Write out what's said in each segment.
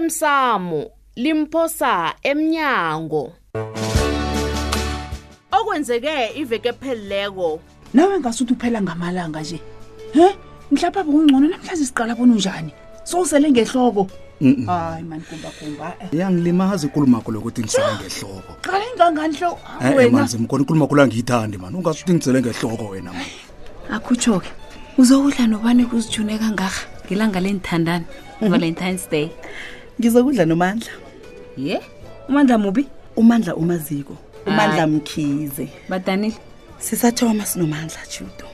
osemsamo limphosa emnyango okwenzeke iveke pheleleko nawe ngasuthi uphela ngamalanga nje he mhlawumbe bekungcono namhlanje siqala bona unjani sowusele ngehloko hayi mani kumbakumba iyangilimazi ikulumakho lokuthi ngisele ngehloko qale ingangani hloko Eh, e-e wena manzi mkhona ikulumakho langiyithandi mani ungasuthi ngisele ngehloko wena mani akhutsho-ke uzokudla nobani kuzijune kangaka ngelanga lenthandana valentines day ngizokudla nomandla ye umandla mubi umandla umaziko umandla Hayi. mkhize badanile sisathoma sinomandla judo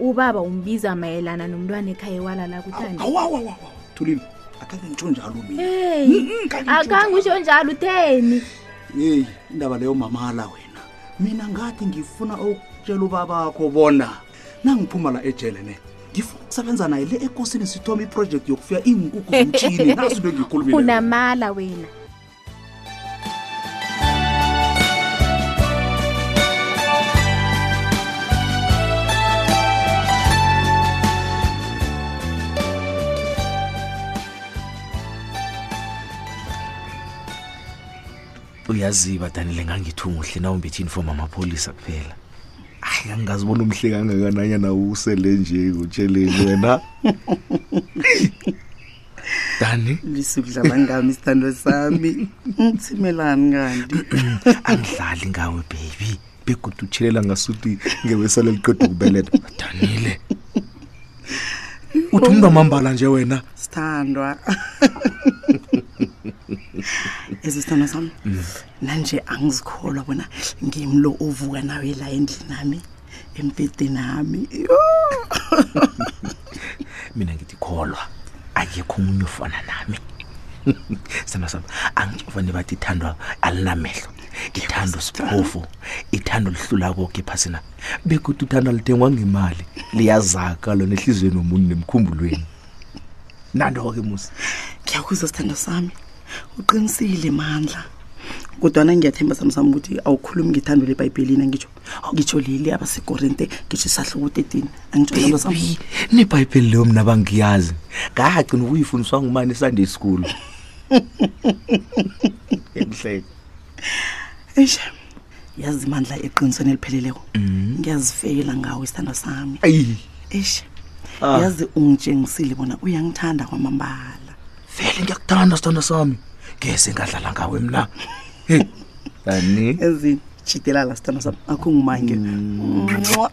ubaba umbiza mayelana nomntwana ekhaya ewalala kuthandi awawawawa thulile akhange ngitsho njalo mina Mm, heyi akange usho njalo utheni yeyi indaba leyo mamala wena mina ngathi ngifuna ukutshela ubabakho bona nangiphuma la ejele ne ngifuna ukusebenza naye le ekosini sithoma iprojekthi yokufuya iinkukhu zomtshini naso into engiyikhulumile unamala wena uyaziba danile ngangithi umuhle nawumbethe uniform amapholisa kuphela hayi angingazibona umhle kangakananyana usele nje utsheleni wena dani lisukudlala ngami isithando sami ngitsimelani kanti angidlali ngawe baby begoda utshelela ngasuthi ngewesele liqeda ukubeletha danile uthi umntu amambala nje wena sithandwa ezisithando sami nanje angizikholwa bona ngimlo ovuka nawe la endlini nami embhedeni nami mina ngithi kholwa akekho omunye ofana nami sithando sami angijovane bathi ithandwa alinamehlo ithando siphofu ithando lihlula koke ephasina bekuthi uthanda lithengwa ngemali liyazaka lona ehliziyweni womuntu nemkhumbulweni nanto-ke musi ngiyakuzwa sithando sami uqinisile mandla kodwana ngiyathemba sami sami ukuthi awukhulumi ngethando lebhayibhelini angitsho ngitsho lili abasekorente ngitsho isahluko u-13 angitsho sithando sami baby nebhayibheli leyo mna bangiyazi ngagcina ukuyifundiswa ngumani esunday school emhleke eish yazi mandla eqinisweni elipheleleko ngiyazifela ngawe isithando sami ayi eish Ah. yazi ungitshengisile bona uyangithanda kwamambala vele ngiyakuthanda sithanda sami ngese ngadlala ngawe mna hey ani ezini jhidelala sithando sami akhungumange Mwah.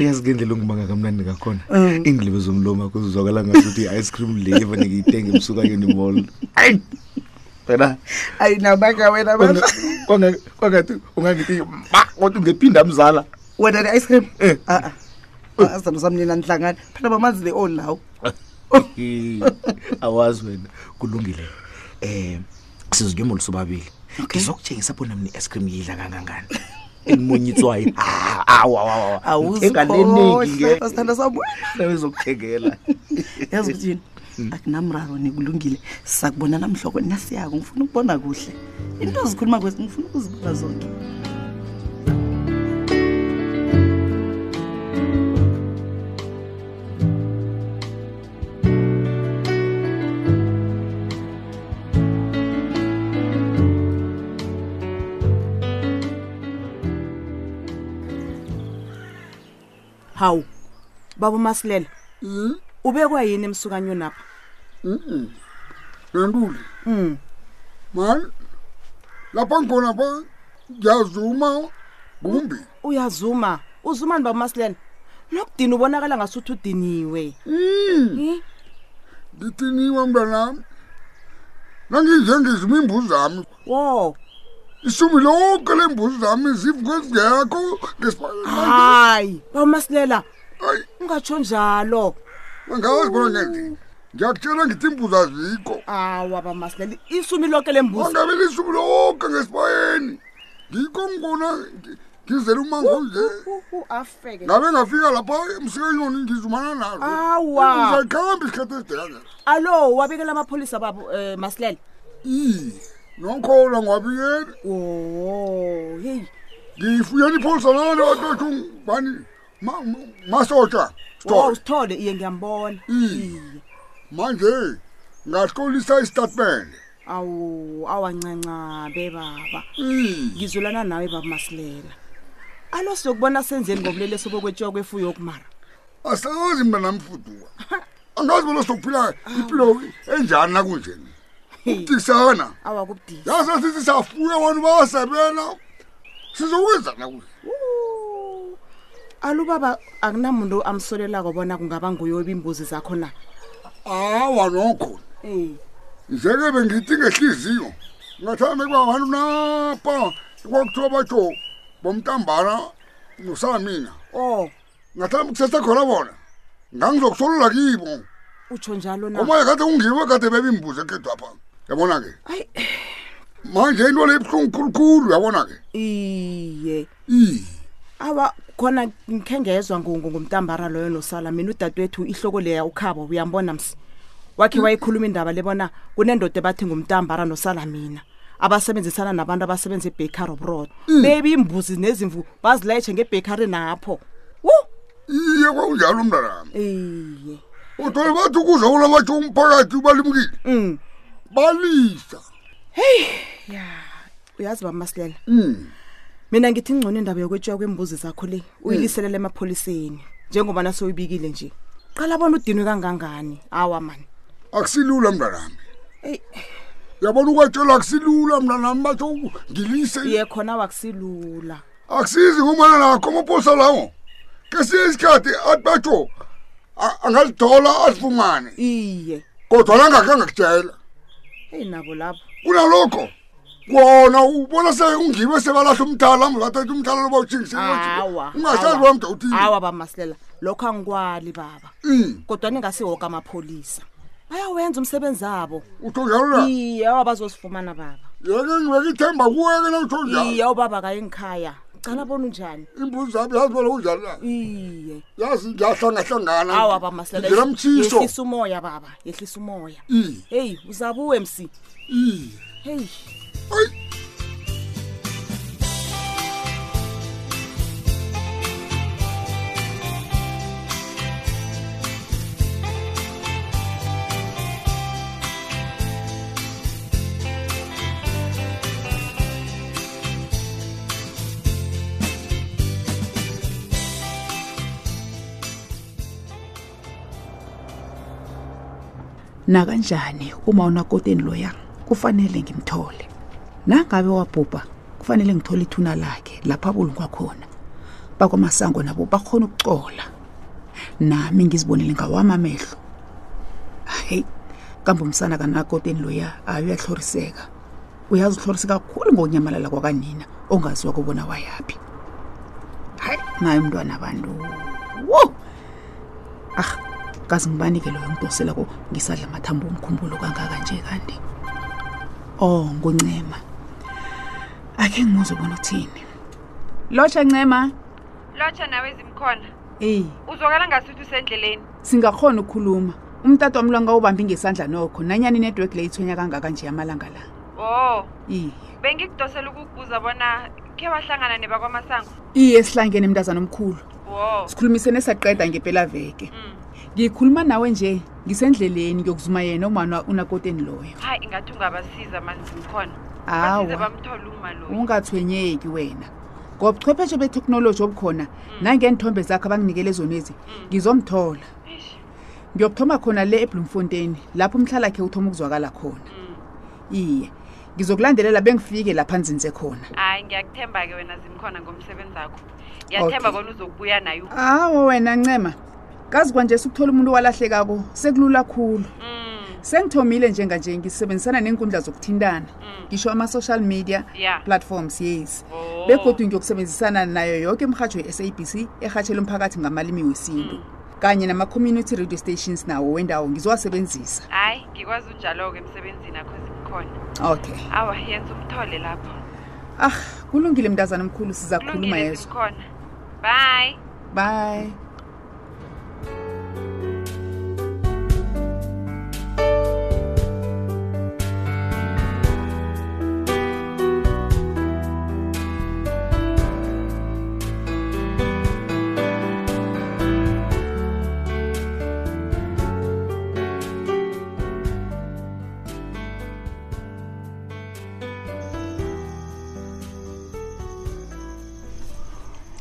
uyazi ngendlela ongibanga kamnandi ngakhona iindlebe zomlomo akho zizwakala ngasuthi i-ice cream le evane ngiyithenge emsuka yona imall ayi wena ayi namanga wena kwanga- bandla kwanga- kwangathi ungangithi ma kodwa ungephinda mzala wena ne-ice cream ah, Eh. a-a asithando sami nina nihlangane phela bamazi le on lawo awazi wena kulungile um sizikemolo sobabili ngizokutshengisa bona mna i-ice cream yidla kangangani enimunyitswayo ah, awuzikhohlwa sithando sami ezokuthengela yazi ukuthi yini akunamraro nikulungile sakubona namhloko nasiyako ngifuna ukubona kuhle into zikhuluma kwezi ngifuna ukuzibona zonke hawu baba umasilela ubekwa yini emsukanyo napha nantuli mani lapha ngikhona pa ngiyazuma kumbi uyazuma uzumani baba umasilela nokudini ubonakala ngasuthi udiniwe ngitiniwe mntanami nanginje ngizuma iimbuzi zami wo isumi lonke le mbuzi zami zivuke zingekho ngesiphayi hayi baba umasilela ungatsho njalo angazi bona ngenzeni ngiyakutshela ngithi iimbuzi azikho awa baba umasilela isumi lonke lembuzi angabe lisumi lonke ngesibayeni ngikho ngikona ngi- ngizele umango nje afeke ngabe ngafika lapha emsikanyoni ngizumana nalo Awa. uzaqhamba isikhathi esidekangela allo wabikela amapholisa baba um masilela i nokholwa ngwabikeni o heyi ngifuyela ipholisa lalo atothu ngubani masotsha Sithole. Wow, sithole iye ngiyambona iye manje ngahlolisa isitatimende awu awancancabe baba Mm. ngizulana nawe baba masilela alo siyokubona senzeni ngobulelesi bokwetshiwa kwefuyo yokumara asazi mina namfuduka angazi bona sokuphila impilo enjani nakunjeni ukudisana awakubudisi yase sithi safuya abantu bayasebela sizokwenza nakunje alubaba akunamuntu amsolelako bona kungaba nguyobi imbuzi zakho na awa nokho Eh. njeke bengithi ngehliziyo ngathanda kuba abantu napha kwakuthiwa batsho bomntambana nosamina Oh, o ngathanda ukusese khona bona ngangizokusolola kibo utsho njalo na omaye kade kungibo kade bebimbuze ekhethwapha yabona-ke Ayi. manje into le ibuhlungu khulukhulu yabona-ke iye i awa khona ngikhe ngezwa ngu- ngu- ngumtambara loyo nosala mina udadewethu ihloko leya ukhabo uyambona msi wakhe wayikhuluma indaba le bona kunendoda ebathi ngumtambara nosala mina abasebenzisana nabantu abasebenza ebhakary obrod bebimbuzi nezimvu bazilayitshe ngebhakary napho wu iye kwakunjalo mntanami iye uthole bathi ukudla kula batsho umphakathi ubalimukile Mm. balisa uyazi bamasilela Mm. mina ngithi ngcono indaba yokwetshiwa kwembuzi zakho le uyiliselela emapholiseni njengoba nasoyibikile nje qala bona udinwe kangangani awa mani akusilula mntanami Eyi. yabona ukwatshelwa akusilula mntanami batsho ngilise iye khona wakusilula akusizi ngomana nakho amaphosa lawo kesinye isikhathi athi batsho a- angalithola azifumane iye kodwa nangakhe angakutshela eyi nabo lapho kunalokho wona ubona seungibe sebalahle umthala mzathetha umthala loba awa ungasazi awa. wamda uthini awa bamasilela lokho angikwali baba Mm, kodwa ningasiwoka amapholisa bayawenza umsebenzi abo utho njalo na iye awa bazosifumana baba yeke ngibeka ithemba kuweke na utho njalo iye ubaba kayingikhaya cala bona unjani imbuzi zami yazi bona kunjalo na iye yazi ngiyahlangahlangana awa bamasilela ngiramtshiso yehlisa umoya baba yehlisa umoya i heyi uzabuwe msi i heyi nakanjani uma unakoteni loya kufanele ngimthole nangabe wabhubha kufanele ngithole ithuna lakhe lapha abulungwa khona bakwamasango nabo bakhona ukucola nami ngizibonele ngawami amehlo heyi kambe umsana kanakoteni loya hayi uyahloriseka uyazi uhlorise kakhulu ngokunyamalala kwakanina ongaziwa kubona wayaphi hayi naye umntwana abantu wo ah kazi ngibanike loyo ngidosela ko ngisadla amathambo omkhumbulo kangaka nje kanti oh nguncema akhe ngimuzwe bona uthini lotsha ncema lotsha nawe zimkhona eyi uzwakala ngasuthi usendleleni singakhona ukukhuluma umtata wami lwangawubambi ngesandla nokho nanyani inetwork le ithonya kangaka nje amalanga la wo iye bengikudosela ukukubuza bona khe wahlangana nebakwamasango iye sihlangene mntazana omkhulu wo sikhulumisene saqeda ngempelaveke ngikhuluma nawe nje ngisendleleni ngiyokuzuma yena umana unakoteni loyo hayi ingathi ungabasiza mani zimkhona basize awa bamthole umaloyi ungathwenyeki wena ngobuchwepheshe betheknoloji obukhona nangenithombe zakho abanginikele zonezi ngizomthola ngiyokuthoma khona le ebloemfontein lapho umhlalakhe uthoma ukuzwakala khona iye ngizokulandelela bengifike lapha nzinze khona hayi ngiyakuthemba-ke wena zimkhona ngomsebenzi akho Okay. ngiyathemba Ah. kona uzokubuya nayo awa wena ncema kazi kwanje sikuthola umuntu owalahlekako sekulula khulu mm, sengithomile njenganje ngisebenzisana neenkundla zokuthintana Mm. ngisho ama-social media ya platforms yes wo begodwa ngiyokusebenzisana nayo yoke imhatsho ye-sabc erhatshela umphakathi ngamalimi wesintu Mm. kanye nama-community radio stations nawo wendawo ngizowasebenzisa hayi ngikwazi unjalo-ke emsebenzini akho zimkhona okay awa yenza umthole lapho ah kulungile mntazana omkhulu siza kukhuluma kulungile yezo zimkhona bye bye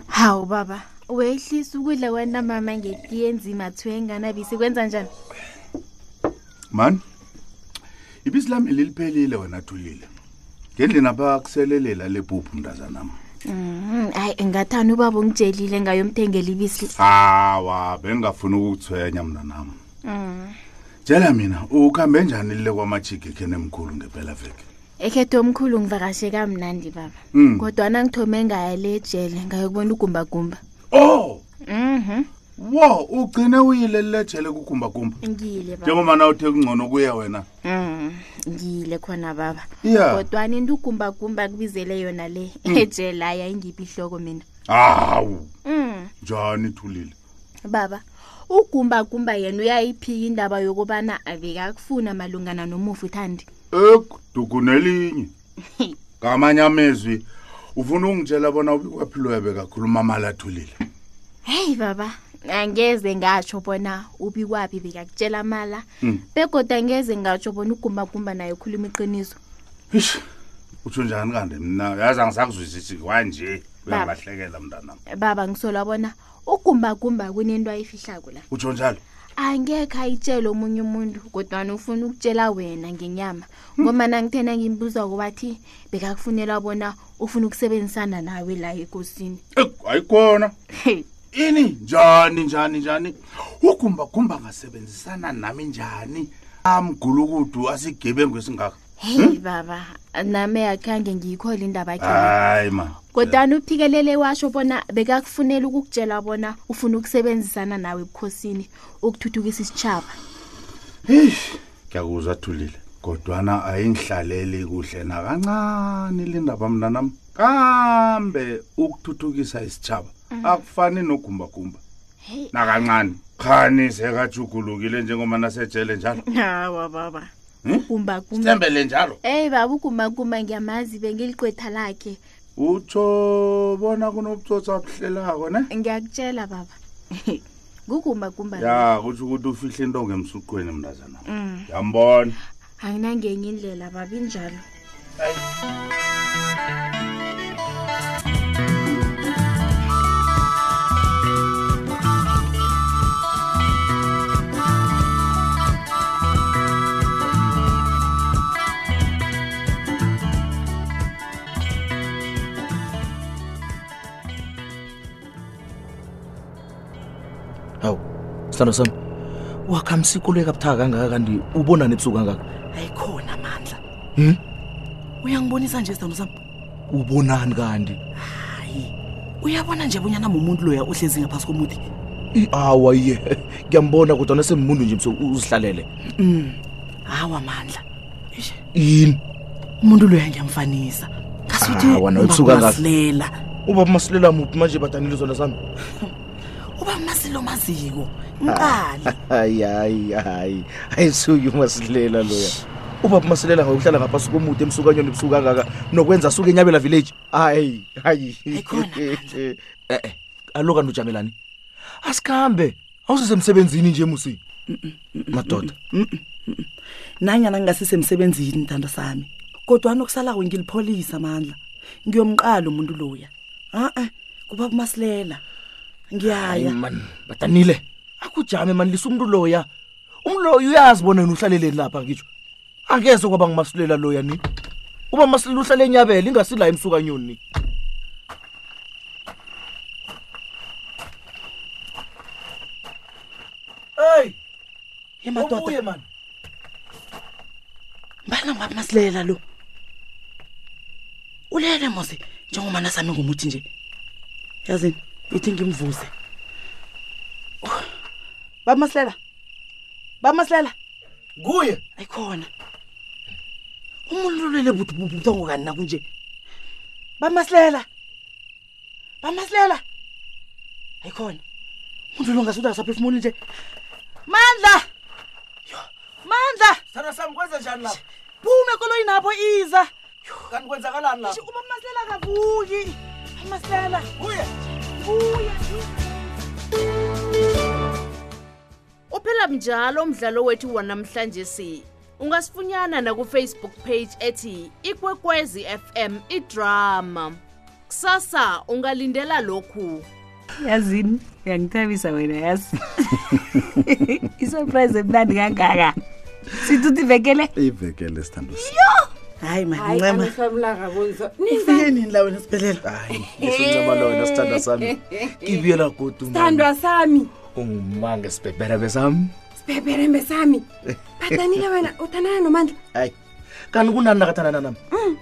hawu baba wehlisa ukudla kwanamama ngetiye enzima athiwe enganabisi kwenza njani mani ibisi lami liliphelile wena thulile ngendlini apha kuselelela lebhubhu mntazanam Mhm, hayi ngathani ubaba ungijelile ngayomthengela ibisi hawa bengingafuni ukukuthwenya mntanam Mm. tshela mina ukuhambe njani lile kwamajigi khenemkhulu ngempela veke ekhetho omkhulu ngivakashe kamnandi baba Mm. kodwana ngithome ngaya le ejele ngayokubona ugumbagumba o Mhm. Oh, wo ugcine uyile lilejele kugumbagumba ngile baba njengomana uthe kungcono kuya wena Mm, ngile khona baba Ya. kodwana into ugumbagumba kubizele yona le Mm. ejele hayi ayingiphi ihloko mina hawu Mm. njani thulile baba ugumbagumba yena uyayiphika indaba yokubana abekakufuna malungana nomufi uthandi ekudukunelinye ngamanye amezwi ufuna ukungitshela bona ubikwaphilwebe kakhuluma mali athulile heyi baba angeze ngatsho bona ubikwaphi bekakutshela mala Mm. begoda angeze ngatsho bona ugumbagumba naye ukhuluma iqiniso ish utsho njani kanti mna yazi angisakuzwisisi kwanje uyangilahlekela mntanam baba ngisola bona ugumbagumba kunento ayifihlako la utsho njalo angekho ayitshele omunye umuntu kodwana ufuna ukutshela wena ngenyama ngomana ngithena ngimbuza kobathi bekakufunela bona ufuna ukusebenzisana nawe la ekosini ayikona ini njani njani njani ugumbagumba ngasebenzisana nami njani amgulukudu asigebengu esingaka heyi baba nami akhange ngiyikhole indaba yakhe hayi ma kodwana uphikelele washo bona bekakufunela ukukutshela bona ufuna ukusebenzisana nawe ebukhosini ukuthuthukisa isitshaba ngiyakuzwa thulile kodwana ayingihlaleli kuhle nakancane lindaba mntanam kambe ukuthuthukisa isitshaba akufani nogumbagumba Mhm. Hey. nakancane khani sekajugulukile njengoba nasejele njalo hawa baba ugumbagumba sembele njalo eyi baba ugumbagumba ngiyamazi bengiliqwetha lakhe utsho bona kunobutsotsa obuhlelako ne ngiyakutshela baba ngugumbagumba lo. ya kutsho Ah, ukuthi ufihle into ngemsuqweni mntazana Mm. yambona anginangenye indlela baba injalo hawu sithando sami wakhamisa ikoleka buthaka kangaka kanti ubonani ebusuku kangaka ayikhona mandla Hmm? uyangibonisa nje sithando sami ubonani kanti uyabona nje bonyana mumuntu loya ohlezi ngaphasi komuthi I- awa ye ngiyambona kodwana semmuntu nje mso uzihlalele Mm. hawa mandla Eish, yini umuntu loya ngiyamfanisa ngasuthi awa nawe ebusuku kangaka ubamasilela ubaba masilela muphi manje badanile zona sami ubamasilo maziko mqali Ah, hayi hayi hayi ayisuki umasilela loya ubaba masilela ngokuhlala ngaphasi komude emsukanyweni ebusuku kangaka nokwenza asuke enyabela village hayi hayi e-e aloka ntujamelani asikhambe awusisemsebenzini nje musi madoda nanyana ngingasisemsebenzini ntando sami kodwana okusalako ngilipholisa mandla ngiyomqala umuntu loya Ah, a-a kubaba umasilela Hayi ngiyaya man badanile akujame mani lisa umntu loya umntu loya uyazi bona yena uhlaleleni lapha ngitsho angeze kwaba ngumasilela loya ni uba masilela uhlale enyabela ingasila emsukanyoni ni eyi emadoda mani mbana ngubaba umasilela lo ulele mose njengomana sami ngomuthi nje yazini ithi ngimvuze Oh, baba masilela baba masilela kuye ayikhona umuntu ulele buthongo kani nakunje bamasilela bamasilela ayikhona umuntu lo ngasuthi akasaphefumuli nje mandla mandla sana sami kwenza njani lapha phume ekoloyi napho iza kanti kwenzakalani lapha uba masilela kavuki amasilela kuye kuye uphela njalo umdlalo wethu wanamhlanje si ungasifunyana nakufacebook page ethi ikwekwezi fm idrama kusasa ungalindela lokhu yazini uyangithabisa wena yazi isurprise emnandi kangaka sithi uthi ivekele ivekele sithando hayi hayi mancamaa anisamlangabonisa ufike nini la wena sibhelelo ngisoncamala wena sithanda sami ibuyela godu sithandwa sami ungumange sibhebherebe sami sibhebherembe sami bathanile wena uthandana nomandla hayi kanti kunani nakathandana nami